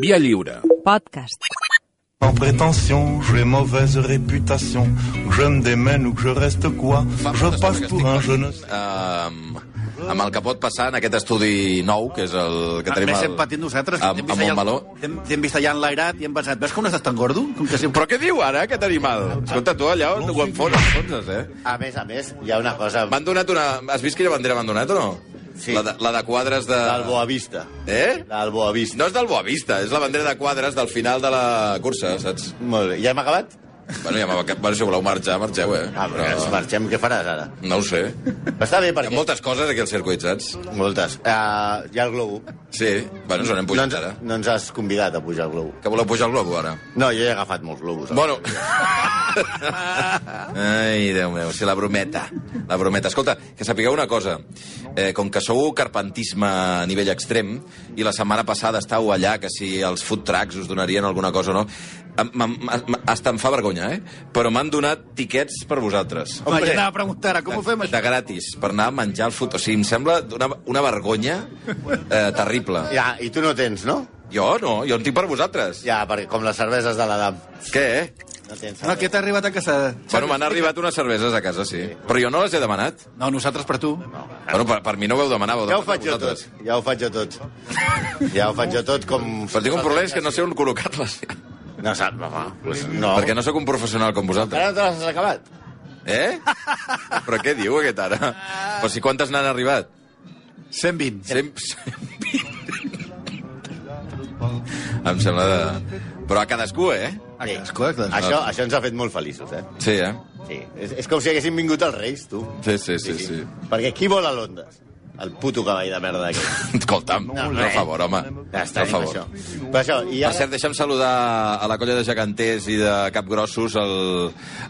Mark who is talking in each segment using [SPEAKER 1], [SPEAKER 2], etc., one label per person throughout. [SPEAKER 1] Via lliure.
[SPEAKER 2] Podcast.
[SPEAKER 3] Sans prétention, j'ai mauvaise réputation. Que je me démène ou que je reste quoi Je passe pour un jeune.
[SPEAKER 4] amb, ehm, amb el que pot passar en aquest estudi nou, que és el que
[SPEAKER 5] A
[SPEAKER 4] tenim
[SPEAKER 5] més,
[SPEAKER 4] al,
[SPEAKER 5] hem patit nosaltres. que
[SPEAKER 4] a,
[SPEAKER 5] t'hem
[SPEAKER 4] a
[SPEAKER 5] vist allà-
[SPEAKER 4] Montmeló.
[SPEAKER 5] T'hem t'hem vist allà enlairat i hem pensat, veus com no estàs tan gordo? Com que sempre...
[SPEAKER 4] Però què diu ara, aquest animal? Escolta, tu allà ho enfons, enfonses, eh?
[SPEAKER 6] A més, a més, hi ha una cosa
[SPEAKER 4] M'han donat una... Has vist quina bandera m'han donat o no?
[SPEAKER 6] Sí.
[SPEAKER 4] La de, la de quadres de...
[SPEAKER 6] del Boavista.
[SPEAKER 4] Eh?
[SPEAKER 6] Del Boavista.
[SPEAKER 4] No és del Boavista, és la bandera de quadres del final de la cursa, saps?
[SPEAKER 6] Molt bé. Ja hem acabat?
[SPEAKER 4] Bueno, ja m'ha... Bueno, si voleu marxar, marxeu, eh?
[SPEAKER 6] Ah, però ens marxem. Què faràs ara?
[SPEAKER 4] No ho sé.
[SPEAKER 6] Està bé,
[SPEAKER 4] Hi ha
[SPEAKER 6] perquè...
[SPEAKER 4] moltes coses aquí al circuit, saps?
[SPEAKER 6] Moltes. Uh, hi ha el globo.
[SPEAKER 4] Sí. Bueno, ens n'hem
[SPEAKER 6] no,
[SPEAKER 4] pujat, ara.
[SPEAKER 6] ens, no ens has convidat a pujar al globo.
[SPEAKER 4] Que voleu pujar al globo, ara?
[SPEAKER 6] No, jo he agafat molts globos. eh?
[SPEAKER 4] Bueno. Ai, Déu meu, si la brometa. La brometa. Escolta, que sapigueu una cosa. Eh, com que sou carpentisme a nivell extrem, i la setmana passada estàveu allà, que si els food trucks us donarien alguna cosa o no, em- em- em- hasta em fa vergonya, eh? Però m'han donat tiquets per vosaltres.
[SPEAKER 5] Home, jo anava a preguntar ara, com ho fem, això?
[SPEAKER 4] De gratis, per anar a menjar el food... O sigui, em sembla una, una vergonya eh, terrible.
[SPEAKER 6] Ja, I tu no tens, no?
[SPEAKER 4] Jo no, jo en tinc per vosaltres.
[SPEAKER 6] Ja, perquè com les cerveses de l'Adam.
[SPEAKER 4] Què?
[SPEAKER 6] No tens
[SPEAKER 5] No,
[SPEAKER 6] cervesa.
[SPEAKER 5] que t'ha arribat a casa...
[SPEAKER 4] Bueno, m'han arribat unes cerveses a casa, sí. Però jo no les he demanat.
[SPEAKER 5] No, nosaltres per tu.
[SPEAKER 4] Bueno, per, per mi no ho veu demanar, vau
[SPEAKER 6] Ja
[SPEAKER 4] demanar
[SPEAKER 6] ho faig jo tot.
[SPEAKER 4] vosaltres.
[SPEAKER 6] Ja ho faig jo tot. Ja ho faig jo tot com...
[SPEAKER 4] Però tinc un problema, és que no sé on col·locar-les.
[SPEAKER 6] No saps, home. Pues no.
[SPEAKER 4] Perquè no sóc un professional com vosaltres.
[SPEAKER 6] Ara no te l'has acabat?
[SPEAKER 4] Eh? Però què diu aquest ara? Però si quantes n'han arribat?
[SPEAKER 5] 120.
[SPEAKER 4] Cent... em sembla de... Però a cadascú, eh?
[SPEAKER 5] Ah,
[SPEAKER 6] Sí.
[SPEAKER 5] Escolta,
[SPEAKER 6] Això, això ens ha fet molt feliços, eh?
[SPEAKER 4] Sí, eh?
[SPEAKER 6] Sí. És, és com si haguéssim vingut als Reis, tu.
[SPEAKER 4] Sí, sí, sí, sí.
[SPEAKER 6] Perquè qui vol a Londres? El puto cavall de merda d'aquest.
[SPEAKER 4] Escolta'm, no, no,
[SPEAKER 6] res.
[SPEAKER 4] favor, home.
[SPEAKER 6] Ja està,
[SPEAKER 4] no, favor.
[SPEAKER 6] això. Per això, i
[SPEAKER 4] Per
[SPEAKER 6] ara...
[SPEAKER 4] cert, deixa'm saludar a la colla de geganters i de capgrossos, el,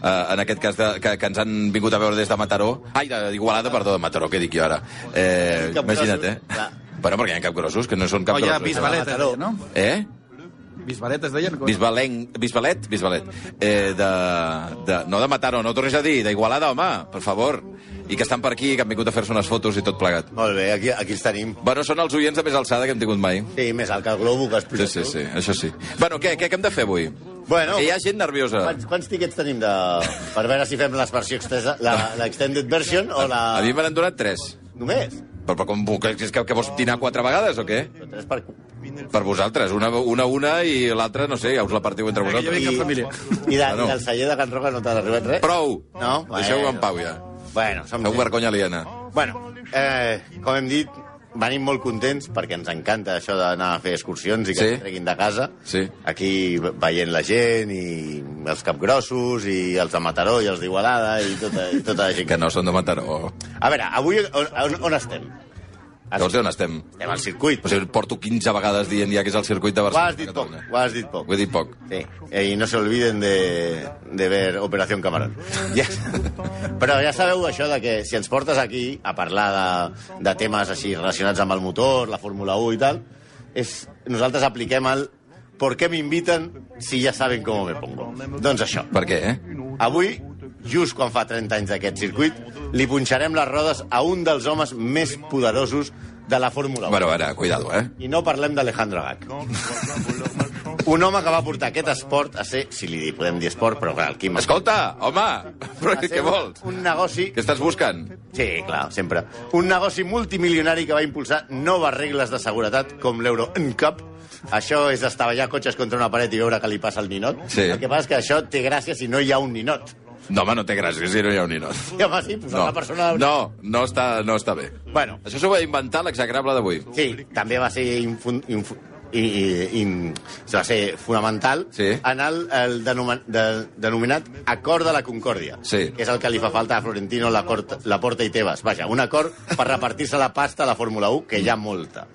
[SPEAKER 4] eh, en aquest cas, de, que, que ens han vingut a veure des de Mataró. Ai, d'Igualada, perdó, de Mataró, què dic jo ara? Eh,
[SPEAKER 6] Capgrossos,
[SPEAKER 4] imagina't, eh?
[SPEAKER 6] clar.
[SPEAKER 4] Bueno, perquè hi ha capgrossos, que no són
[SPEAKER 5] Oh, hi ha
[SPEAKER 4] capgrossos.
[SPEAKER 5] Bisbalet, es deia, no?
[SPEAKER 4] Eh?
[SPEAKER 5] Bisbalet es deien?
[SPEAKER 4] Bisbalenc, Bisbalet? Bisbalet. Eh, de, de, no de Mataró, no tornis a dir, d'Igualada, home, per favor. I que estan per aquí, que han vingut a fer-se unes fotos i tot plegat.
[SPEAKER 6] Molt bé, aquí, aquí els tenim.
[SPEAKER 4] Bueno, són els oients de més alçada que hem tingut mai.
[SPEAKER 6] Sí, més alt que el globo que has
[SPEAKER 4] Sí,
[SPEAKER 6] posat
[SPEAKER 4] sí,
[SPEAKER 6] tu.
[SPEAKER 4] sí, això sí. Bueno, què, què, què hem de fer avui?
[SPEAKER 6] Bueno,
[SPEAKER 4] Que hi ha gent nerviosa.
[SPEAKER 6] Quants, quants tiquets tenim de... per veure si fem les versió extesa, la,
[SPEAKER 4] Ah.
[SPEAKER 6] la extended version o la...
[SPEAKER 4] A mi me n'han donat tres.
[SPEAKER 6] Només?
[SPEAKER 4] Però, però com, que, és que, que vols dinar quatre vegades o què?
[SPEAKER 6] Però Tres per...
[SPEAKER 4] Per vosaltres, una una, una i l'altra, no sé, ja us la partiu entre
[SPEAKER 5] jo vinc
[SPEAKER 4] vosaltres.
[SPEAKER 5] amb família.
[SPEAKER 6] I, de,
[SPEAKER 4] Ah, no.
[SPEAKER 6] i del celler de Can Roca no t'ha arribat res?
[SPEAKER 4] Prou!
[SPEAKER 6] No?
[SPEAKER 4] Deixeu-ho en pau, ja.
[SPEAKER 6] Bueno, som
[SPEAKER 4] Feu
[SPEAKER 6] gent.
[SPEAKER 4] vergonya aliena.
[SPEAKER 6] Bueno, eh, com hem dit, venim molt contents perquè ens encanta això d'anar a fer excursions i que
[SPEAKER 4] Sí.
[SPEAKER 6] ens treguin de casa.
[SPEAKER 4] Sí.
[SPEAKER 6] Aquí ve- veient la gent i els capgrossos i els de Mataró i els d'Igualada i tota, i tota la gent.
[SPEAKER 4] Que no són de Mataró.
[SPEAKER 6] A veure, avui on, on, on estem?
[SPEAKER 4] No sé on estem.
[SPEAKER 6] Estem al circuit.
[SPEAKER 4] O sigui, porto 15 vegades dient ja que és el circuit de
[SPEAKER 6] Ho
[SPEAKER 4] Barcelona.
[SPEAKER 6] has dit poc,
[SPEAKER 4] Catalunya.
[SPEAKER 6] ho has dit poc.
[SPEAKER 4] Ho he dit poc.
[SPEAKER 6] Sí, eh, y no se olviden de, de ver Operación Camarón. Ja, però ja sabeu això de que si ens portes aquí a parlar de, de temes així relacionats amb el motor, la Fórmula 1 i tal, és, nosaltres apliquem el ¿Por qué me invitan si ya saben cómo me pongo? Doncs això.
[SPEAKER 4] Per què, eh?
[SPEAKER 6] Avui, just quan fa 30 anys d'aquest circuit, li punxarem les rodes a un dels homes més poderosos de la Fórmula 1.
[SPEAKER 4] Bueno, ara, cuidado, eh?
[SPEAKER 6] I no parlem d'Alejandro Gac. Un home que va portar aquest esport a ser, si li podem dir esport, però clar, el Quim...
[SPEAKER 4] Escolta, home! Però
[SPEAKER 6] a ser
[SPEAKER 4] què vols?
[SPEAKER 6] Un negoci...
[SPEAKER 4] Què estàs buscant?
[SPEAKER 6] Sí, clar, sempre. Un negoci multimilionari que va impulsar noves regles de seguretat, com l'euro NCAP. Això és estavellar cotxes contra una paret i veure què li passa al ninot.
[SPEAKER 4] Sí.
[SPEAKER 6] El que passa és que això té gràcia si no hi ha un ninot.
[SPEAKER 4] No, home, no té gràcia, si no hi ha un ninot.
[SPEAKER 6] I home, sí, posar
[SPEAKER 4] No,
[SPEAKER 6] una persona...
[SPEAKER 4] no, no, està, no està bé.
[SPEAKER 6] Bueno,
[SPEAKER 4] Això s'ho va inventar l'exagrable d'avui.
[SPEAKER 6] Sí, també va ser infun, infu, i, i, in, va ser fonamental
[SPEAKER 4] Sí.
[SPEAKER 6] en el, el denomen, de, denominat Acord de la Concòrdia,
[SPEAKER 4] Sí.
[SPEAKER 6] que és el que li fa falta a Florentino la, cort, la Porta i Tebas. Vaja, un acord per repartir-se la pasta a la Fórmula 1, que hi ha molta.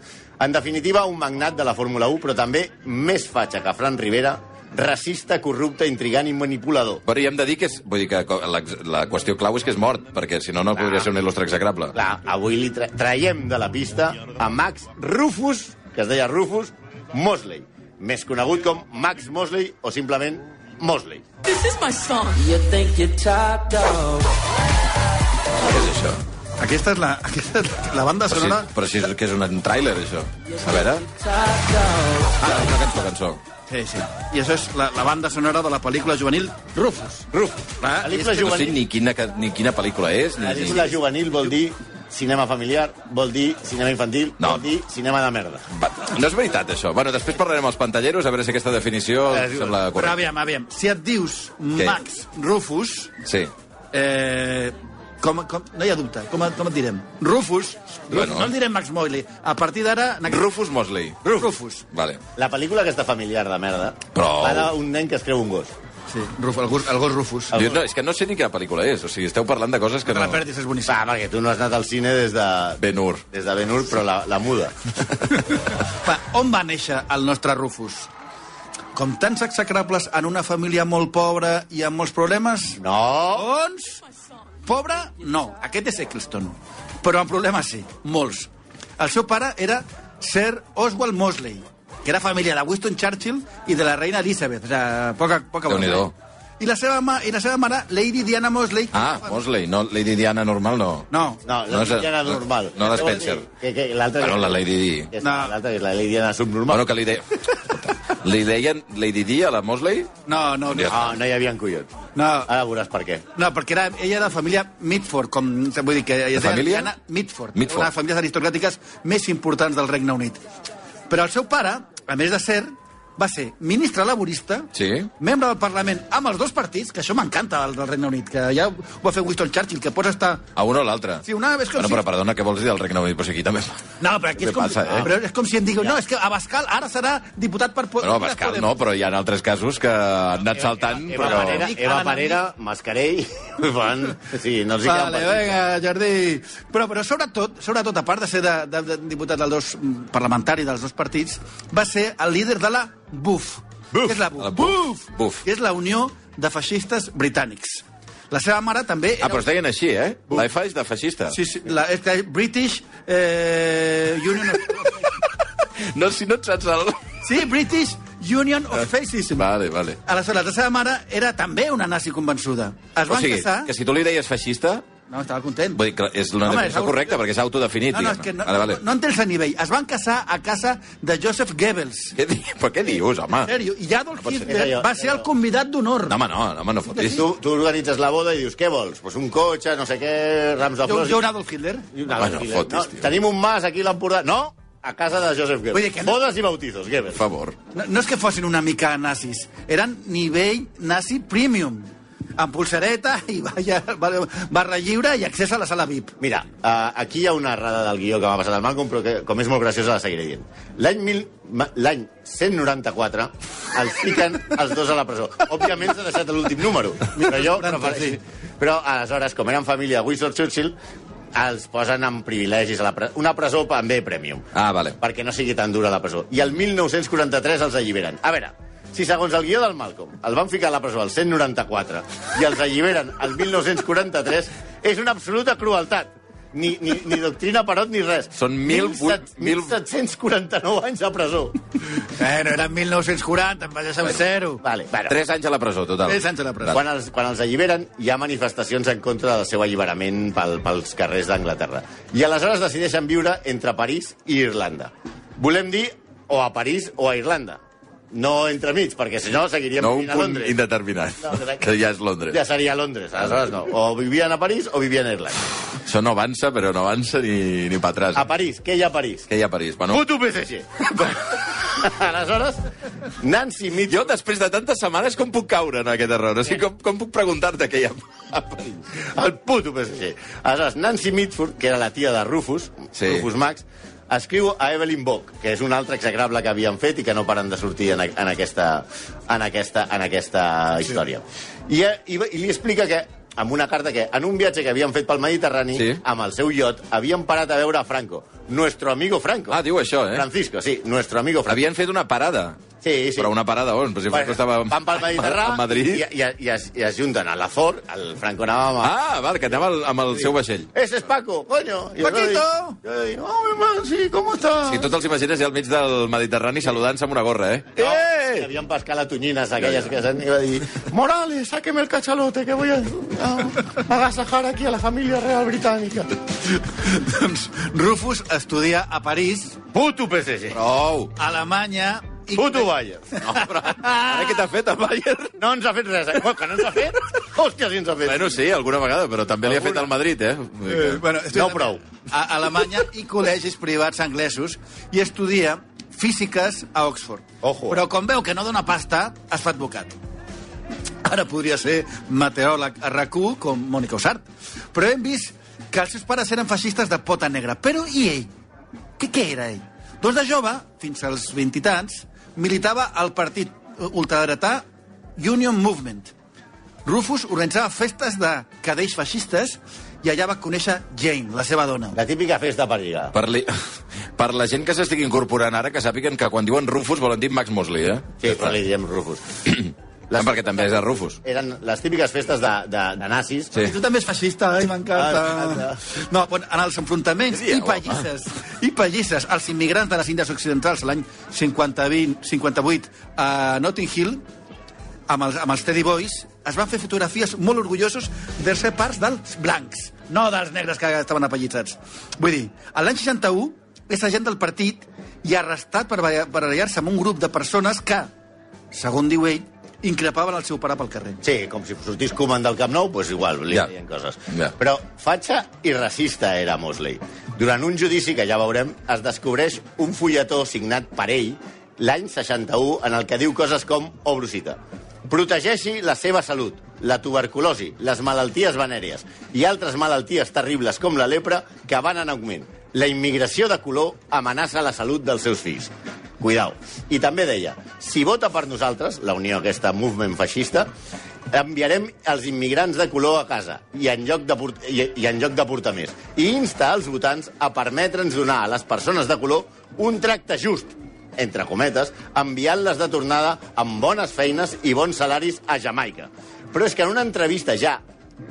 [SPEAKER 6] En definitiva, un magnat de la Fórmula 1, però també més fatxa que Fran Rivera, racista, corrupte, intrigant i manipulador.
[SPEAKER 4] Però hi hem de dir que és... Vull dir que co- la, la qüestió clau és que és mort, perquè si no, no podria ser un il·lustre execrable.
[SPEAKER 6] Clar, avui li tra traiem de la pista a Max Rufus, que es deia Rufus Mosley, més conegut com Max Mosley o simplement Mosley.
[SPEAKER 2] This is my song.
[SPEAKER 7] You think you're top dog.
[SPEAKER 4] Què és això?
[SPEAKER 5] Aquesta és la, aquesta és la banda
[SPEAKER 4] Però si,
[SPEAKER 5] sonora...
[SPEAKER 4] però si és, que és un tràiler, això. A veure... Ah, és una cançó. aquesta cançó.
[SPEAKER 5] Sí, sí. I això és la, la banda sonora de la pel·lícpel·lícula juvenil Rufus.
[SPEAKER 4] Ruf! Clar,
[SPEAKER 6] Pel·lícula
[SPEAKER 4] és que no sé
[SPEAKER 6] juvenil.
[SPEAKER 4] ni quina, ca- ni quina pel·lícula és, ni...
[SPEAKER 6] Pel·lícula juvenil vol dir cinema familiar, vol dir cinema infantil,
[SPEAKER 4] No.
[SPEAKER 6] vol dir cinema de merda.
[SPEAKER 4] Va, no és veritat, això. Bueno, després parlarem als pantalleros, a veure si aquesta definició
[SPEAKER 6] Eh,
[SPEAKER 4] us
[SPEAKER 6] diu-
[SPEAKER 4] sembla
[SPEAKER 5] Però
[SPEAKER 4] correcta.
[SPEAKER 5] aviam, aviam, si et dius
[SPEAKER 4] Què?
[SPEAKER 5] Max Rufus,
[SPEAKER 4] Sí.
[SPEAKER 5] eh, com, com, no hi ha dubte, com, et- com et direm? Rufus,
[SPEAKER 4] Bueno.
[SPEAKER 5] bueno. no et direm Max Moily. A partir d'ara... en aquest-
[SPEAKER 4] Rufus Mosley.
[SPEAKER 5] Rufus. Rufus.
[SPEAKER 4] Vale.
[SPEAKER 6] La pel·lícula aquesta familiar de merda
[SPEAKER 4] Prou.
[SPEAKER 6] va d'un nen que es creu un gos.
[SPEAKER 5] Sí, Rufus, el, gos, el gos Rufus.
[SPEAKER 4] Jo, no, és que no sé ni quina pel·lícula és. O sigui, esteu parlant de coses que
[SPEAKER 5] No
[SPEAKER 4] no...
[SPEAKER 5] te la perdis, és boníssim.
[SPEAKER 6] Va, perquè tu no has anat al cine des de...
[SPEAKER 4] Ben-Hur.
[SPEAKER 6] Des de Ben Hur, però la, la muda.
[SPEAKER 5] Va, on va néixer el nostre Rufus? Com tants execrables en una família molt pobra i amb molts problemes?
[SPEAKER 6] No!
[SPEAKER 5] Doncs, pobre, no. Aquest és Eccleston. Però amb problemes sí, molts. El seu pare era Sir Oswald Mosley, que era família de Winston Churchill i de la reina Elizabeth. O sigui, poca, poca broma,
[SPEAKER 4] Déu-n'hi-do.
[SPEAKER 5] eh? I la seva, ma, I la seva mare, Lady Diana Mosley... que
[SPEAKER 4] Ah,
[SPEAKER 5] era fa-
[SPEAKER 4] Mosley, no Lady Diana normal, no.
[SPEAKER 5] No,
[SPEAKER 6] No, la
[SPEAKER 4] No
[SPEAKER 6] no
[SPEAKER 4] és-
[SPEAKER 6] Lady
[SPEAKER 4] no-
[SPEAKER 6] normal.
[SPEAKER 4] no les
[SPEAKER 6] Què vol
[SPEAKER 4] Spencer.
[SPEAKER 6] dir? Que, que, l'altra
[SPEAKER 4] Bueno,
[SPEAKER 6] que-
[SPEAKER 4] la Lady Di.
[SPEAKER 6] que és-
[SPEAKER 5] No.
[SPEAKER 6] L'altra que és la Lady Diana subnormal.
[SPEAKER 4] Bueno, que li deia... Li deien Lady Di a la Mosley?
[SPEAKER 5] no, no, no.
[SPEAKER 6] Ah, No, no hi havia collons.
[SPEAKER 5] no.
[SPEAKER 6] Ara veuràs per què.
[SPEAKER 5] No, perquè era, ella era de família Mitford, com vull dir que... ella es deia
[SPEAKER 4] família?
[SPEAKER 5] Diana Mitford,
[SPEAKER 4] Mitford.
[SPEAKER 5] una de les famílies aristocràtiques més importants del Regne Unit. Però el seu pare, a més de ser, va ser ministre laborista,
[SPEAKER 4] Sí.
[SPEAKER 5] membre del Parlament amb els dos partits, que això m'encanta del, del Regne Unit, que ja ho va fer Winston Churchill, que pots estar...
[SPEAKER 4] A una o l'altra?
[SPEAKER 5] Sí, una vez que
[SPEAKER 4] Bueno,
[SPEAKER 5] sí.
[SPEAKER 4] però perdona, què vols dir del Regne Unit? Però si aquí també...
[SPEAKER 5] No, però aquí
[SPEAKER 4] Què
[SPEAKER 5] és com,
[SPEAKER 4] passa, eh?
[SPEAKER 5] però és com si em digueu, no, és que Abascal ara serà diputat per...
[SPEAKER 4] Bueno, Pascal no, però hi ha altres casos que han
[SPEAKER 5] Eh,
[SPEAKER 4] anat saltant,
[SPEAKER 6] Eva
[SPEAKER 4] però...
[SPEAKER 6] Parera, Eva Parera Mascarell, van... Sí, no els hi
[SPEAKER 5] Vale,
[SPEAKER 6] vale,
[SPEAKER 5] vinga, Jardí. Però, però sobretot, sobretot, a part de ser de, de, de diputat del dos mm, parlamentari dels dos partits, va ser el líder de la BUF.
[SPEAKER 4] Buf.
[SPEAKER 5] Que és la BUF.
[SPEAKER 4] La Buf. Buf.
[SPEAKER 5] Que és la Unió de Feixistes Britànics. La seva mare també
[SPEAKER 4] Ah,
[SPEAKER 5] era...
[SPEAKER 4] però es deien així, eh? La F és de feixista.
[SPEAKER 5] Sí, sí, la, és que és British eh, Union of...
[SPEAKER 4] No, si no et saps el...
[SPEAKER 5] Sí, British Union
[SPEAKER 4] Eh,
[SPEAKER 5] of Fascism.
[SPEAKER 4] Vale, vale.
[SPEAKER 5] Aleshores, la seva mare era també una nazi convençuda. Es
[SPEAKER 4] O
[SPEAKER 5] van
[SPEAKER 4] sigui,
[SPEAKER 5] casar...
[SPEAKER 4] que si tu li deies feixista,
[SPEAKER 5] No, estava content.
[SPEAKER 4] vull dir que és una
[SPEAKER 5] Home,
[SPEAKER 4] definició
[SPEAKER 5] és-
[SPEAKER 4] correcta, perquè és autodefinit,
[SPEAKER 5] No, no, és
[SPEAKER 4] diguem-ne.
[SPEAKER 5] que no,
[SPEAKER 4] Vale, vale.
[SPEAKER 5] no, no entens el nivell. Es van casar a casa de Joseph Goebbels.
[SPEAKER 4] Què, di... però què dius, home?
[SPEAKER 5] En sèrio, i Adolf
[SPEAKER 4] pot ser.
[SPEAKER 5] Hitler
[SPEAKER 6] Era jo,
[SPEAKER 5] va
[SPEAKER 6] era
[SPEAKER 5] ser el
[SPEAKER 6] jo.
[SPEAKER 5] convidat d'honor.
[SPEAKER 4] No, home, no, no, home, no fotis.
[SPEAKER 6] Tu, tu organitzes la boda i dius, què vols? Pues un cotxe, no sé què, rams de
[SPEAKER 5] Jo,
[SPEAKER 6] flors...
[SPEAKER 5] jo un Adolf Hitler.
[SPEAKER 6] I un
[SPEAKER 4] Home,
[SPEAKER 6] altre
[SPEAKER 4] Ah, no
[SPEAKER 6] filet.
[SPEAKER 4] fotis, tio.
[SPEAKER 6] Tenim un mas aquí a l'Empordà. No, a casa de Joseph Goebbels.
[SPEAKER 5] Vull dir que no-
[SPEAKER 6] Bodes i bautizos, Goebbels.
[SPEAKER 4] Per favor.
[SPEAKER 5] No, no és que fossin una mica nazis, eren nivell nazi premium, amb pulsareta i balla, barra, barra lliure i accés a la sala VIP.
[SPEAKER 6] Mira, eh, aquí hi ha una errada del guió que m'ha passat al Malcolm, però que, com és molt graciosa, la seguiré dient. L'any mil- ma- l'any 194 els fiquen els dos a la presó. Òbviament s'ha deixat l'últim número, però jo... prefereixo- Però aleshores, com eren família de Winston Churchill, els posen amb privilegis a la presó. Una presó també premium.
[SPEAKER 4] Ah, vale.
[SPEAKER 6] perquè no sigui tan dura la presó. I el 1943 els alliberen. A veure, si segons el guió del Malcolm el van ficar a la presó al 194 i els alliberen al 1943, és una absoluta crueltat. Ni, ni, ni doctrina Perot ni res.
[SPEAKER 4] Són mil vuit- mil-
[SPEAKER 6] 1749 anys a presó.
[SPEAKER 5] Bueno, era 1940, em vaig saber zero.
[SPEAKER 6] Vale, bueno.
[SPEAKER 4] Tres anys a la presó, total.
[SPEAKER 5] Tres anys a la presó.
[SPEAKER 6] Quan els, quan els alliberen, hi ha manifestacions en contra del seu alliberament pel, pels carrers d'Anglaterra. I aleshores decideixen viure entre París i Irlanda. Volem dir o a París o a Irlanda. No entremig, perquè si no seguiríem
[SPEAKER 4] No un
[SPEAKER 6] vivint a
[SPEAKER 4] punt
[SPEAKER 6] Londres.
[SPEAKER 4] indeterminat,
[SPEAKER 6] No, exacte.
[SPEAKER 4] que ja és Londres.
[SPEAKER 6] Ja seria Londres, aleshores no. O vivien a París o vivien a Irlanda.
[SPEAKER 4] Això no avança, però no avança ni, ni per atràs.
[SPEAKER 6] A París, què hi ha a París?
[SPEAKER 4] Què hi ha a París? Bueno,
[SPEAKER 6] Puto PSG. aleshores, Nancy Mitchell...
[SPEAKER 4] jo, després de tantes setmanes, com puc caure en aquest error? O sigui, com, com puc preguntar-te què hi ha?
[SPEAKER 6] a París. El puto PSG. Aleshores, Nancy Mitford, que era la tia de Rufus,
[SPEAKER 4] Sí.
[SPEAKER 6] sí. Rufus Max, escriu a Evelyn Bock, que és un altre execrable que havien fet i que no paren de sortir en, a- en, aquesta, en, aquesta, en aquesta història. I, eh, i, va- I li explica que amb una carta que en un viatge que havien fet pel Mediterrani,
[SPEAKER 4] Sí.
[SPEAKER 6] amb el seu iot, havien parat a veure a Franco. Nuestro amigo Franco.
[SPEAKER 4] Ah, diu això, eh?
[SPEAKER 6] Francisco, sí, nuestro amigo Franco.
[SPEAKER 4] Havien fet una parada.
[SPEAKER 6] Sí, sí.
[SPEAKER 4] Però una parada on? Però si Franco estava
[SPEAKER 6] Van pel Mediterrani
[SPEAKER 4] a Madrid.
[SPEAKER 6] i, i, i, es, i es junten a la Ford, el Franco anava amb,
[SPEAKER 4] Ah, val, que anava al- amb el seu vaixell.
[SPEAKER 6] Ese es Paco, coño. Y
[SPEAKER 5] Paquito.
[SPEAKER 6] Yo le digo, oh, mi man, sí, ¿cómo estás?
[SPEAKER 4] Si tots els imagines ja al mig del Mediterrani saludant-se amb una gorra, eh?
[SPEAKER 6] No, que Habían pescado las tuñinas aquellas que se han ido y... Morales, sáqueme el cachalote que voy a, a agasajar aquí a la familia real británica.
[SPEAKER 5] doncs Rufus estudia a París,
[SPEAKER 6] Puto PSG.
[SPEAKER 4] Prou!
[SPEAKER 5] Alemanya
[SPEAKER 6] Puto Bayer.
[SPEAKER 4] No, però ara què t'ha fet, el Bayern?
[SPEAKER 6] No ens ha fet res, eh? Oh, que no ens ha fet? Hòstia, sí ens ha fet.
[SPEAKER 4] Bueno, sí, alguna vegada, però també li ha fet al Madrid, eh? Vull dir
[SPEAKER 5] Eh,
[SPEAKER 4] que-
[SPEAKER 5] bueno,
[SPEAKER 6] No
[SPEAKER 5] estudia-
[SPEAKER 6] prou.
[SPEAKER 5] A Alemanya i col·legis privats anglesos i estudia físiques a Oxford.
[SPEAKER 6] Ojo.
[SPEAKER 5] Però com veu que no dona pasta, es fa advocat. Ara podria ser meteoròleg a RAC1 com Mònica Usart. Però hem vist que els seus pares eren feixistes de pota negra. Però i ell? Què, què era ell? Doncs de jove, fins als vint i tants, militava al partit ultradretà Union Movement. Rufus organitzava festes de cadells feixistes i allà va conèixer Jane, la seva dona.
[SPEAKER 6] La típica festa per lligar.
[SPEAKER 4] Per, li... per la gent que s'estigui incorporant ara, que sàpiguen que quan diuen Rufus volen dir Max Mosley, eh?
[SPEAKER 6] Sí, però li diem Rufus.
[SPEAKER 4] Les... Perquè també és de Rufus.
[SPEAKER 6] Eren les típiques festes de, de, de nazis.
[SPEAKER 4] Sí.
[SPEAKER 5] I tu també és feixista, ai, m'encanta.
[SPEAKER 6] Ah,
[SPEAKER 5] No, bueno, en els enfrontaments
[SPEAKER 4] Sí,
[SPEAKER 5] i
[SPEAKER 4] home.
[SPEAKER 5] pallisses, i pallisses als immigrants de les Índies Occidentals l'any 50 20 58 a Notting Hill, amb els, amb els Teddy Boys, es van fer fotografies molt orgullosos de ser parts dels blancs, no dels negres que estaven apallissats. Vull dir, a l'any 61 és agent del partit i arrestat per barallar- barallar-se amb un grup de persones que, segon diu ell, increpaven el seu pare pel carrer.
[SPEAKER 6] Sí, com si sortís Koeman del Camp Nou, doncs igual, li
[SPEAKER 4] Ja.
[SPEAKER 6] yeah. deien coses.
[SPEAKER 4] Ja.
[SPEAKER 6] Però fatxa i racista era Mosley. Durant un judici, que ja veurem, es descobreix un fulletó signat per ell l'any 61 en el que diu coses com, obro cita, protegeixi la seva salut, la tuberculosi, les malalties venèries i altres malalties terribles com la lepra que van en augment. La immigració de color amenaça la salut dels seus fills. Cuidao. I també deia, si vota per nosaltres, la unió aquesta movement feixista, enviarem els immigrants de color a casa i en lloc de, port i, i en lloc de portar més. I insta els votants a permetre'ns donar a les persones de color un tracte just, entre cometes, enviant-les de tornada amb bones feines i bons salaris a Jamaica. Però és que en una entrevista ja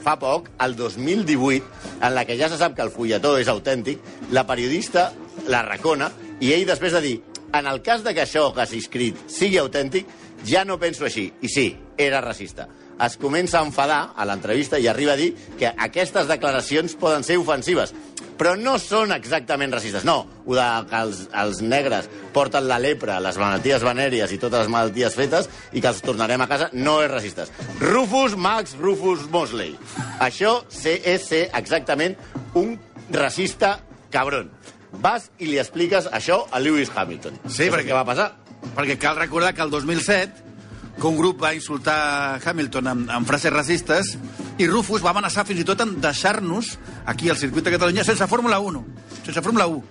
[SPEAKER 6] fa poc, el 2018, en la que ja se sap que el fulletó és autèntic, la periodista la racona i ell després de dir en el cas de que això que has escrit sigui autèntic, ja no penso així. I sí, era racista. Es comença a enfadar a l'entrevista i arriba a dir que aquestes declaracions poden ser ofensives, però no són exactament racistes. No, ho de que els, els negres porten la lepra, les malalties venèries i totes les malalties fetes i que els tornarem a casa no és racistes. Rufus Max Rufus Mosley. Això sé- és ser exactament un racista cabron. Vas i li expliques això a Lewis Hamilton. Això
[SPEAKER 5] Sí,
[SPEAKER 6] és
[SPEAKER 5] perquè-
[SPEAKER 6] el que va passar.
[SPEAKER 5] Perquè cal recordar que el 2007 que un grup va insultar Hamilton amb, amb frases racistes i Rufus va amenaçar fins i tot en deixar-nos aquí al circuit de Catalunya sense Fórmula 1. Sense Fórmula 1.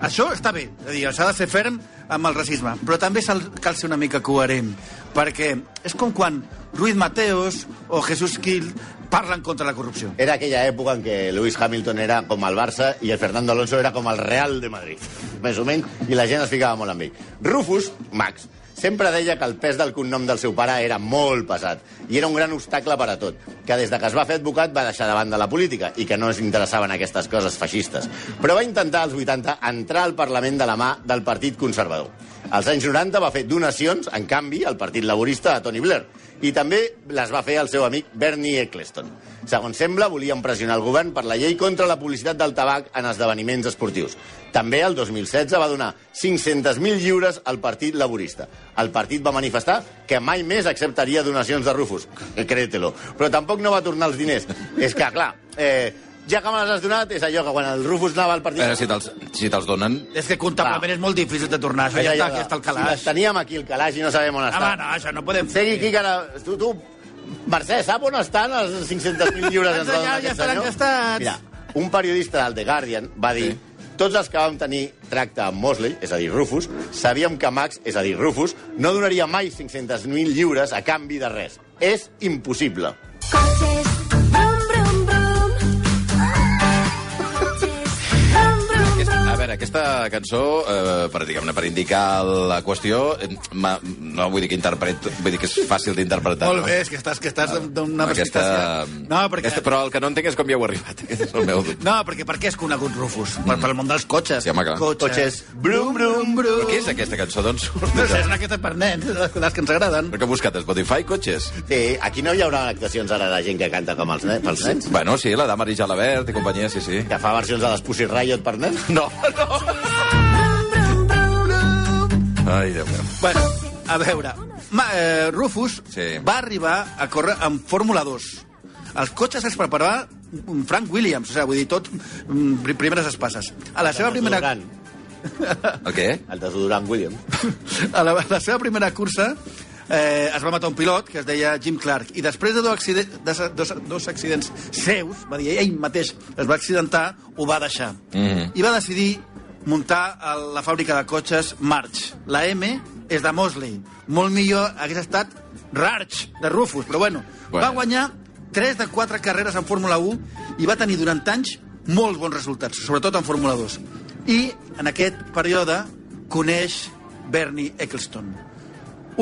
[SPEAKER 5] Això està bé, és a dir, s'ha de ser ferm amb el racisme, però també s'ha- cal ser una mica coherent, perquè és com quan Ruiz Mateos o Jesús Gil parlen contra la corrupció.
[SPEAKER 6] Era aquella època en què Lewis Hamilton era com el Barça i el Fernando Alonso era com el Real de Madrid, més o menys, i la gent es ficava molt amb ell. Rufus, Max, sempre deia que el pes del cognom del seu pare era molt pesat i era un gran obstacle per a tot, que des de que es va fer advocat va deixar de banda la política i que no es interessaven aquestes coses feixistes. Però va intentar als 80 entrar al Parlament de la mà del Partit Conservador. Als anys 90 va fer donacions, en canvi, al Partit Laborista a Tony Blair i també les va fer el seu amic Bernie Eccleston. Segons sembla, volien pressionar el govern per la llei contra la publicitat del tabac en esdeveniments esportius. També el 2016 va donar 500.000 lliures al Partit Laborista. El partit va manifestar que mai més acceptaria donacions de Rufus. Créetelo. Però tampoc no va tornar els diners. És que, clar, eh, ja que me les has donat, és allò que quan el Rufus anava al
[SPEAKER 4] A veure,
[SPEAKER 6] partit...
[SPEAKER 5] Eh,
[SPEAKER 4] Eh, si te'ls si te donen...
[SPEAKER 5] És que comptablement és molt difícil de tornar, això ja, està, ja està al
[SPEAKER 6] Si
[SPEAKER 5] calaix.
[SPEAKER 6] les teníem aquí, el calaix, i no sabem on
[SPEAKER 5] Home,
[SPEAKER 6] està.
[SPEAKER 5] no, això no podem fer.
[SPEAKER 6] Segui aquí, que ara... Tu, tu, Mercè, sap on estan els 500.000 lliures?
[SPEAKER 5] Doncs allà
[SPEAKER 6] dona
[SPEAKER 5] ja
[SPEAKER 6] aquest
[SPEAKER 5] estan
[SPEAKER 6] senyor?
[SPEAKER 5] encastats.
[SPEAKER 6] Mira, un periodista del The Guardian va dir... Sí. Tots els que vam tenir tracte amb Mosley, és a dir, Rufus, sabíem que Max, és a dir, Rufus, no donaria mai 500.000 lliures a canvi de res. És impossible.
[SPEAKER 1] Coches, brum, brum, brum. Coches, brum, brum,
[SPEAKER 4] Aquesta,
[SPEAKER 1] brum.
[SPEAKER 4] a veure, aquesta cançó, eh, per, diguem-ne, per indicar la qüestió, eh, ma- no vull dir que interpret, vull dir que és fàcil d'interpretar.
[SPEAKER 5] Molt bé, és que estàs, que estàs d'una
[SPEAKER 4] No? Aquesta...
[SPEAKER 5] perspicàcia. No, perquè...
[SPEAKER 4] aquesta, però el que no entenc és com hi heu arribat. Aquest és el meu dubte.
[SPEAKER 5] No, perquè per què és conegut Rufus? Per, pel món dels cotxes.
[SPEAKER 4] Mm. Sí, home, clar.
[SPEAKER 5] Cotxes.
[SPEAKER 6] Cotxes. Brum, brum,
[SPEAKER 5] brum.
[SPEAKER 4] Però què és aquesta cançó, doncs?
[SPEAKER 5] No sé, són aquestes per nens, les, les que ens agraden.
[SPEAKER 4] Però que he buscat a Spotify, cotxes?
[SPEAKER 6] Sí, aquí no hi haurà actuacions ara de gent que canta com els nens, pels nens?
[SPEAKER 4] Bueno, sí, la dama Jalabert i companyia, sí, sí.
[SPEAKER 6] Que fa versions de les Pussy Riot per nens?
[SPEAKER 4] No, no.
[SPEAKER 1] Brum, brum, brum.
[SPEAKER 4] Ai, Déu meu.
[SPEAKER 5] Bueno, a veure, ma, eh, Rufus
[SPEAKER 4] Sí.
[SPEAKER 5] sí. va arribar a córrer en Fórmula 2. Els cotxes els preparava Frank Williams, o sigui, vull dir, tot mm, pri- primeres espases. A la seva primera...
[SPEAKER 6] Desodorant.
[SPEAKER 4] El què?
[SPEAKER 6] El desodorant William.
[SPEAKER 5] a la, la seva primera cursa eh, es va matar un pilot que es deia Jim Clark i després de dos, accident, de, sa- dos, dos accidents seus, va dir ell mateix es va accidentar, ho va deixar
[SPEAKER 4] Mhm.
[SPEAKER 5] i va decidir muntar el, la fàbrica de cotxes March la M és de Mosley molt millor hagués estat Rarch de Rufus, però bueno,
[SPEAKER 4] Bueno.
[SPEAKER 5] bueno. va guanyar 3 de 4 carreres en Fórmula 1 i va tenir durant anys molts bons resultats, sobretot en Fórmula 2. I en aquest període coneix Bernie Eccleston.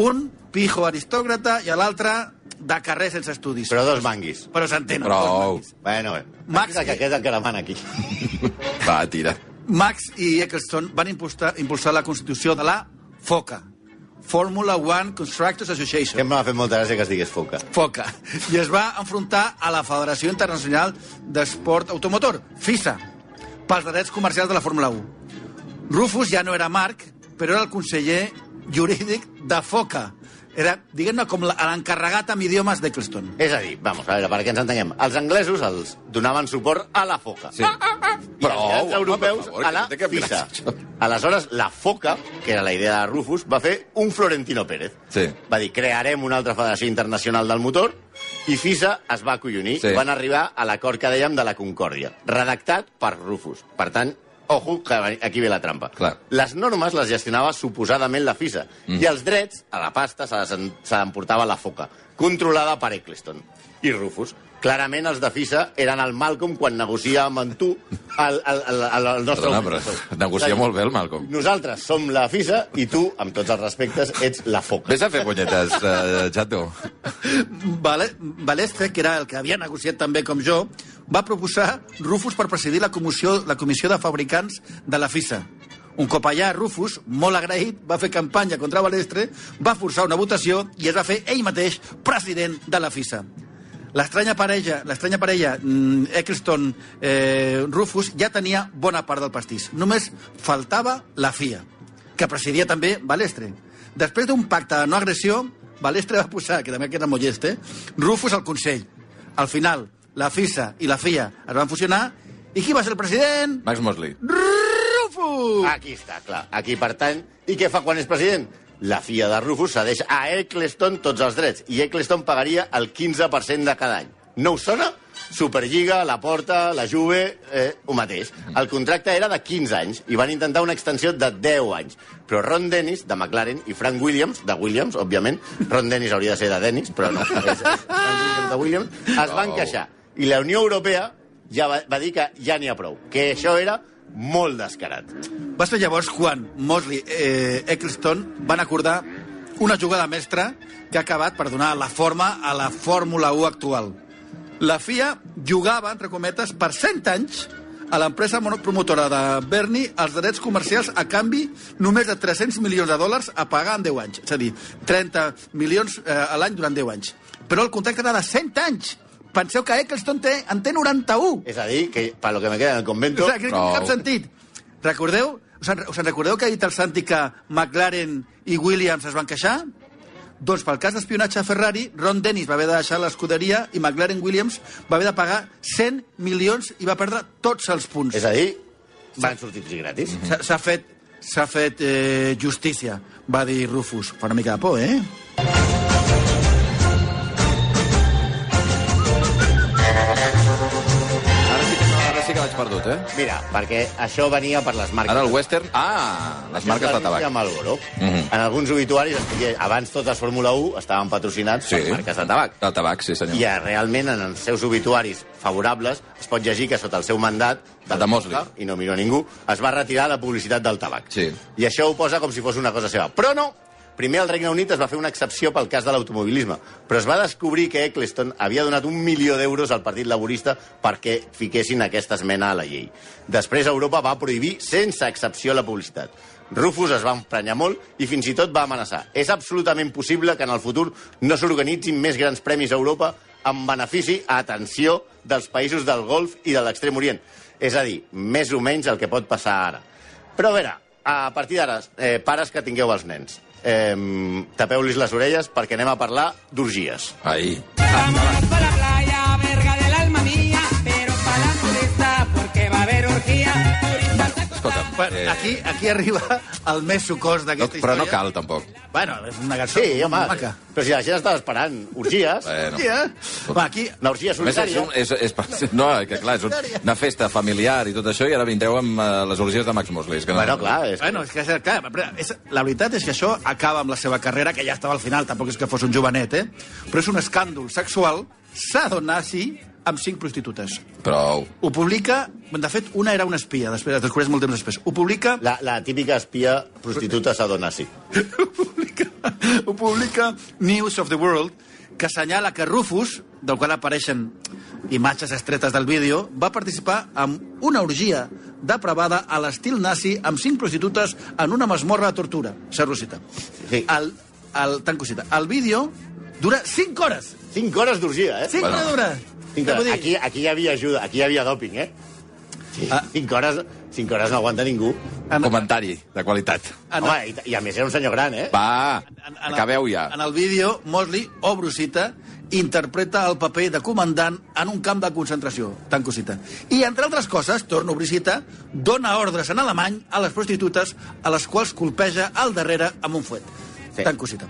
[SPEAKER 5] Un pijo aristòcrata i l'altre de carrer sense estudis.
[SPEAKER 6] Però dos manguis.
[SPEAKER 5] Però s'entenen.
[SPEAKER 4] Prou.
[SPEAKER 6] Bueno, bé. Max,
[SPEAKER 5] Max-
[SPEAKER 6] que aquest és el que demana aquí.
[SPEAKER 4] Va, tira.
[SPEAKER 5] Max i Eccleston van impulsar, impulsar la constitució de la FOCA, Formula One Constructors Association.
[SPEAKER 6] Sempre m'ha fet molta gràcia que es digués foca.
[SPEAKER 5] foca i es va enfrontar a la Federació Internacional d'Esport Automotor, FISA, pels drets comercials de la Fórmula 1. Rufus ja no era Marc, però era el conseller jurídic de Foca. Era, diguem-ne, com la- l'encarregat amb idiomes d'Eccleston.
[SPEAKER 6] És a dir, vamos, a veure, per què ens entenguem? Els anglesos els donaven suport a la foca.
[SPEAKER 4] Sí.
[SPEAKER 6] I
[SPEAKER 4] Però,
[SPEAKER 6] els
[SPEAKER 4] home,
[SPEAKER 6] grans
[SPEAKER 4] per
[SPEAKER 6] europeus
[SPEAKER 4] favor,
[SPEAKER 6] a la
[SPEAKER 4] que té cap gràcia,
[SPEAKER 6] pizza.
[SPEAKER 4] això.
[SPEAKER 6] Aleshores, la foca, que era la idea de Rufus, va fer un Florentino Pérez.
[SPEAKER 4] Sí.
[SPEAKER 6] Va dir, crearem una altra federació internacional del motor i FISA es va acollonir
[SPEAKER 4] Sí.
[SPEAKER 6] sí. i van arribar a l'acord que dèiem de la Concòrdia, redactat per Rufus. Per tant, ojo, que aquí ve la trampa.
[SPEAKER 4] Clar.
[SPEAKER 6] Les normes les gestionava suposadament la FISA mm. i els drets a la pasta se les en- se l'emportava la foca, controlada per Eccleston i Rufus. Clarament els de FISA eren el Malcolm quan negocia amb en tu el, el, el, el, el nostre...
[SPEAKER 4] Perdona,
[SPEAKER 6] augment.
[SPEAKER 4] però negocia molt bé el Malcolm.
[SPEAKER 6] Nosaltres som la FISA i tu, amb tots els respectes, ets la foca.
[SPEAKER 4] Ves a fer punyetes, eh, Jato.
[SPEAKER 5] Vale- Balestre, que era el que havia negociat també com jo, va proposar Rufus per presidir la comissió, la comissió de fabricants de la FISA. Un cop allà, Rufus, molt agraït, va fer campanya contra Balestre, va forçar una votació i es va fer ell mateix president de la FISA. L'estranya parella, l'estranya parella mm, Eccleston eh, Rufus ja tenia bona part del pastís. Només faltava la FIA, que presidia també Balestre. Després d'un pacte de no agressió, Balestre va posar, que també queda molt llest, eh, Rufus al Consell. Al final, la FISA i la FIA es van fusionar i qui va ser el president?
[SPEAKER 4] Max Mosley.
[SPEAKER 5] Rufus!
[SPEAKER 6] Aquí està, clar. Aquí pertany. I què fa quan és president? La filla de Rufus cedeix a Eccleston tots els drets i Eccleston pagaria el 15% de cada any. No us sona? Superliga, la Porta, la Juve, eh, ho mateix. El contracte era de 15 anys i van intentar una extensió de 10 anys. Però Ron Dennis, de McLaren, i Frank Williams, de Williams, òbviament, Ron Dennis hauria de ser de Dennis, però no, és Frank Williams de Williams, es van
[SPEAKER 4] Au.
[SPEAKER 6] queixar. I la Unió Europea ja va, va dir que ja n'hi ha prou, que això era molt descarat.
[SPEAKER 5] Va ser llavors quan Mosley i eh, Eccleston van acordar una jugada mestra que ha acabat per donar la forma a la Fórmula 1 actual. La FIA jugava, entre cometes, per 100 anys a l'empresa promotora de Bernie els drets comercials a canvi només de 300 milions de dòlars a pagar en 10 anys. És a dir, 30 milions eh, a l'any durant 10 anys. Però el contracte era de 100 anys. Penseu que Eccleston té, en té 91.
[SPEAKER 6] Es decir, que para lo que me queda en el convento...
[SPEAKER 5] O sigui, que no.
[SPEAKER 4] No.
[SPEAKER 5] cap sentit. Recordeu? Us en, us en recordeu que ha dit el Santi que McLaren i Williams es van queixar? Doncs pel cas d'espionatge a Ferrari, Ron Dennis va haver de deixar l'escuderia i McLaren Williams va haver de pagar 100 milions i va perdre tots els punts.
[SPEAKER 6] Es decir, van substituts gratis.
[SPEAKER 5] S'ha s'ha fet, s'ha fet eh, justícia, va dir Rufus. Fa una mica de por, eh?
[SPEAKER 4] Ara sí que, ara sí que l'haig perdut, eh?
[SPEAKER 6] Mira, perquè això venia per les marques.
[SPEAKER 4] Ara el western... Ah, les marques de tabac.
[SPEAKER 6] Amb Malboro.
[SPEAKER 4] Mhm.
[SPEAKER 6] En alguns obituaris, es deia, abans totes Fórmula 1 estaven patrocinats
[SPEAKER 4] Sí.
[SPEAKER 6] per marques de tabac.
[SPEAKER 4] De tabac, sí, senyor.
[SPEAKER 6] I eh, realment, en els seus obituaris favorables, es pot llegir que sota el seu mandat...
[SPEAKER 4] El de Mosley.
[SPEAKER 6] I no miro a ningú, es va retirar la publicitat del tabac.
[SPEAKER 4] Sí.
[SPEAKER 6] I això ho posa com si fos una cosa seva. Però no! Primer, al Regne Unit es va fer una excepció pel cas de l'automobilisme, però es va descobrir que Eccleston havia donat un milió d'euros al Partit Laborista perquè fiquessin aquesta esmena a la llei. Després, Europa va prohibir sense excepció la publicitat. Rufus es va emprenyar molt i fins i tot va amenaçar. És absolutament possible que en el futur no s'organitzin més grans premis a Europa en benefici, atenció, dels països del Golf i de l'Extrem Orient. És a dir, més o menys el que pot passar ara. Però a veure, a partir d'ara, eh, pares que tingueu els nens, eh, tapeu-los les orelles perquè anem a parlar d'orgies.
[SPEAKER 4] Ahí.
[SPEAKER 2] Vámonos pa' la playa, verga del alma mía, pero para la turista, porque va a haber orgía. Turistas a
[SPEAKER 4] Escolta'm,
[SPEAKER 5] Bueno,
[SPEAKER 4] eh,
[SPEAKER 5] aquí, aquí arriba el més sucós
[SPEAKER 4] no,
[SPEAKER 5] d'aquesta
[SPEAKER 4] però
[SPEAKER 5] història.
[SPEAKER 4] no cal, tampoc.
[SPEAKER 5] Bueno, és una cançó
[SPEAKER 6] Sí, home,
[SPEAKER 5] maca.
[SPEAKER 6] però si la gent estava esperant orgies,
[SPEAKER 4] Bueno.
[SPEAKER 5] Sí, eh? Va, aquí...
[SPEAKER 6] una orgia
[SPEAKER 4] A Més, és,
[SPEAKER 6] solitària...
[SPEAKER 4] un, és, és, per- no, que clar, és un, una festa familiar i tot això, i ara vindreu amb uh, les orgies de Max Mosley. és Que no,
[SPEAKER 6] Bueno, clar, és...
[SPEAKER 5] Bueno, és que, és- clar, però és, la veritat és que això acaba amb la seva carrera, que ja estava al final, tampoc és que fos un jovenet, eh? Però és un escàndol sexual. S'ha donat, sí, amb cinc prostitutes.
[SPEAKER 4] Prou.
[SPEAKER 5] Ho publica... De fet, una era una espia, després es descobreix molt temps després. Ho publica...
[SPEAKER 6] La, la típica espia prostituta s'adonasi.
[SPEAKER 5] ho publica, ho publica News of the World, que assenyala que Rufus, del qual apareixen imatges estretes del vídeo, va participar en una orgia depravada a l'estil nazi amb cinc prostitutes en una masmorra de tortura. Serro cita.
[SPEAKER 6] Sí.
[SPEAKER 5] El, el, tanco cita. El vídeo dura 5 hores.
[SPEAKER 6] 5 hores d'orgia, eh?
[SPEAKER 5] 5
[SPEAKER 4] Bueno,
[SPEAKER 5] hores dura.
[SPEAKER 6] Cinc
[SPEAKER 5] Què vull
[SPEAKER 6] hores. Aquí,
[SPEAKER 5] dir?
[SPEAKER 6] aquí hi havia ajuda, aquí hi havia dòping, eh? Sí.
[SPEAKER 5] Ah.
[SPEAKER 6] 5 hores, 5 hores no aguanta ningú.
[SPEAKER 5] En-
[SPEAKER 4] Comentari de qualitat.
[SPEAKER 5] en-
[SPEAKER 6] Home, i, i a més era un senyor gran, eh?
[SPEAKER 4] Va,
[SPEAKER 5] En- en el-
[SPEAKER 4] acabeu ja.
[SPEAKER 5] En el vídeo, Mosley, o Brusita, interpreta el paper de comandant en un camp de concentració. Tan cosita. I, entre altres coses, torno Brusita, dona ordres en alemany a les prostitutes a les quals colpeja al darrere amb un fuet.
[SPEAKER 6] Sí.
[SPEAKER 5] Tan cosita.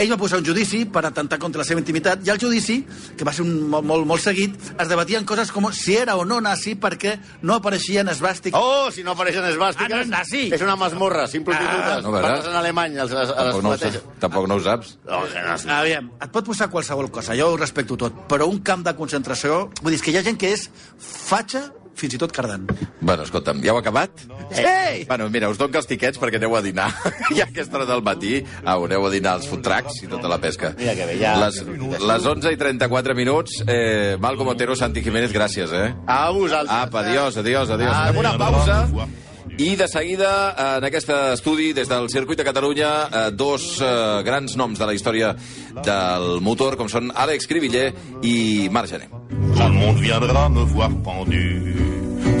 [SPEAKER 5] Ell va posar un judici per atentar contra la seva intimitat i al judici, que va ser un, molt, molt, molt seguit, es debatien coses com si era o no nazi perquè no apareixien esbàstics.
[SPEAKER 6] Oh, si no apareixen esbàstiques...
[SPEAKER 5] Ah, no és nazi.
[SPEAKER 6] És una masmorra, cinc prostitutes.
[SPEAKER 4] Ah,
[SPEAKER 6] Ah,
[SPEAKER 4] no,
[SPEAKER 6] no,
[SPEAKER 4] veràs.
[SPEAKER 6] Parles en alemany, els, els, els
[SPEAKER 4] Tampoc no, ho
[SPEAKER 6] platejos.
[SPEAKER 4] saps. Tampoc no ho saps.
[SPEAKER 6] Oh, que no és nazi.
[SPEAKER 5] Aviam, et pot posar qualsevol cosa, jo ho respecto tot, però un camp de concentració... Vull dir, és que hi ha gent que és fatxa fins i tot cardant.
[SPEAKER 4] Bueno, escolta'm, ja heu acabat?
[SPEAKER 5] Ei!
[SPEAKER 4] Bueno, mira, us dono els tiquets perquè aneu a dinar. I a aquesta hora del matí au, aneu a dinar als futracs i tota la pesca.
[SPEAKER 6] Mira que bé, ja-
[SPEAKER 4] Les, les 11 i 34 minuts, eh, Malcom Otero, Santi Jiménez, gràcies, eh?
[SPEAKER 6] A vosaltres.
[SPEAKER 4] Apa, adiós, adiós, adiós. Fem una pausa i de seguida, eh, en aquest estudi, des del Circuit de Catalunya, eh, dos eh, grans noms de la història del motor, com són Àlex Cribiller i Marc Gené.
[SPEAKER 3] Tout le monde viendra me voir pendu,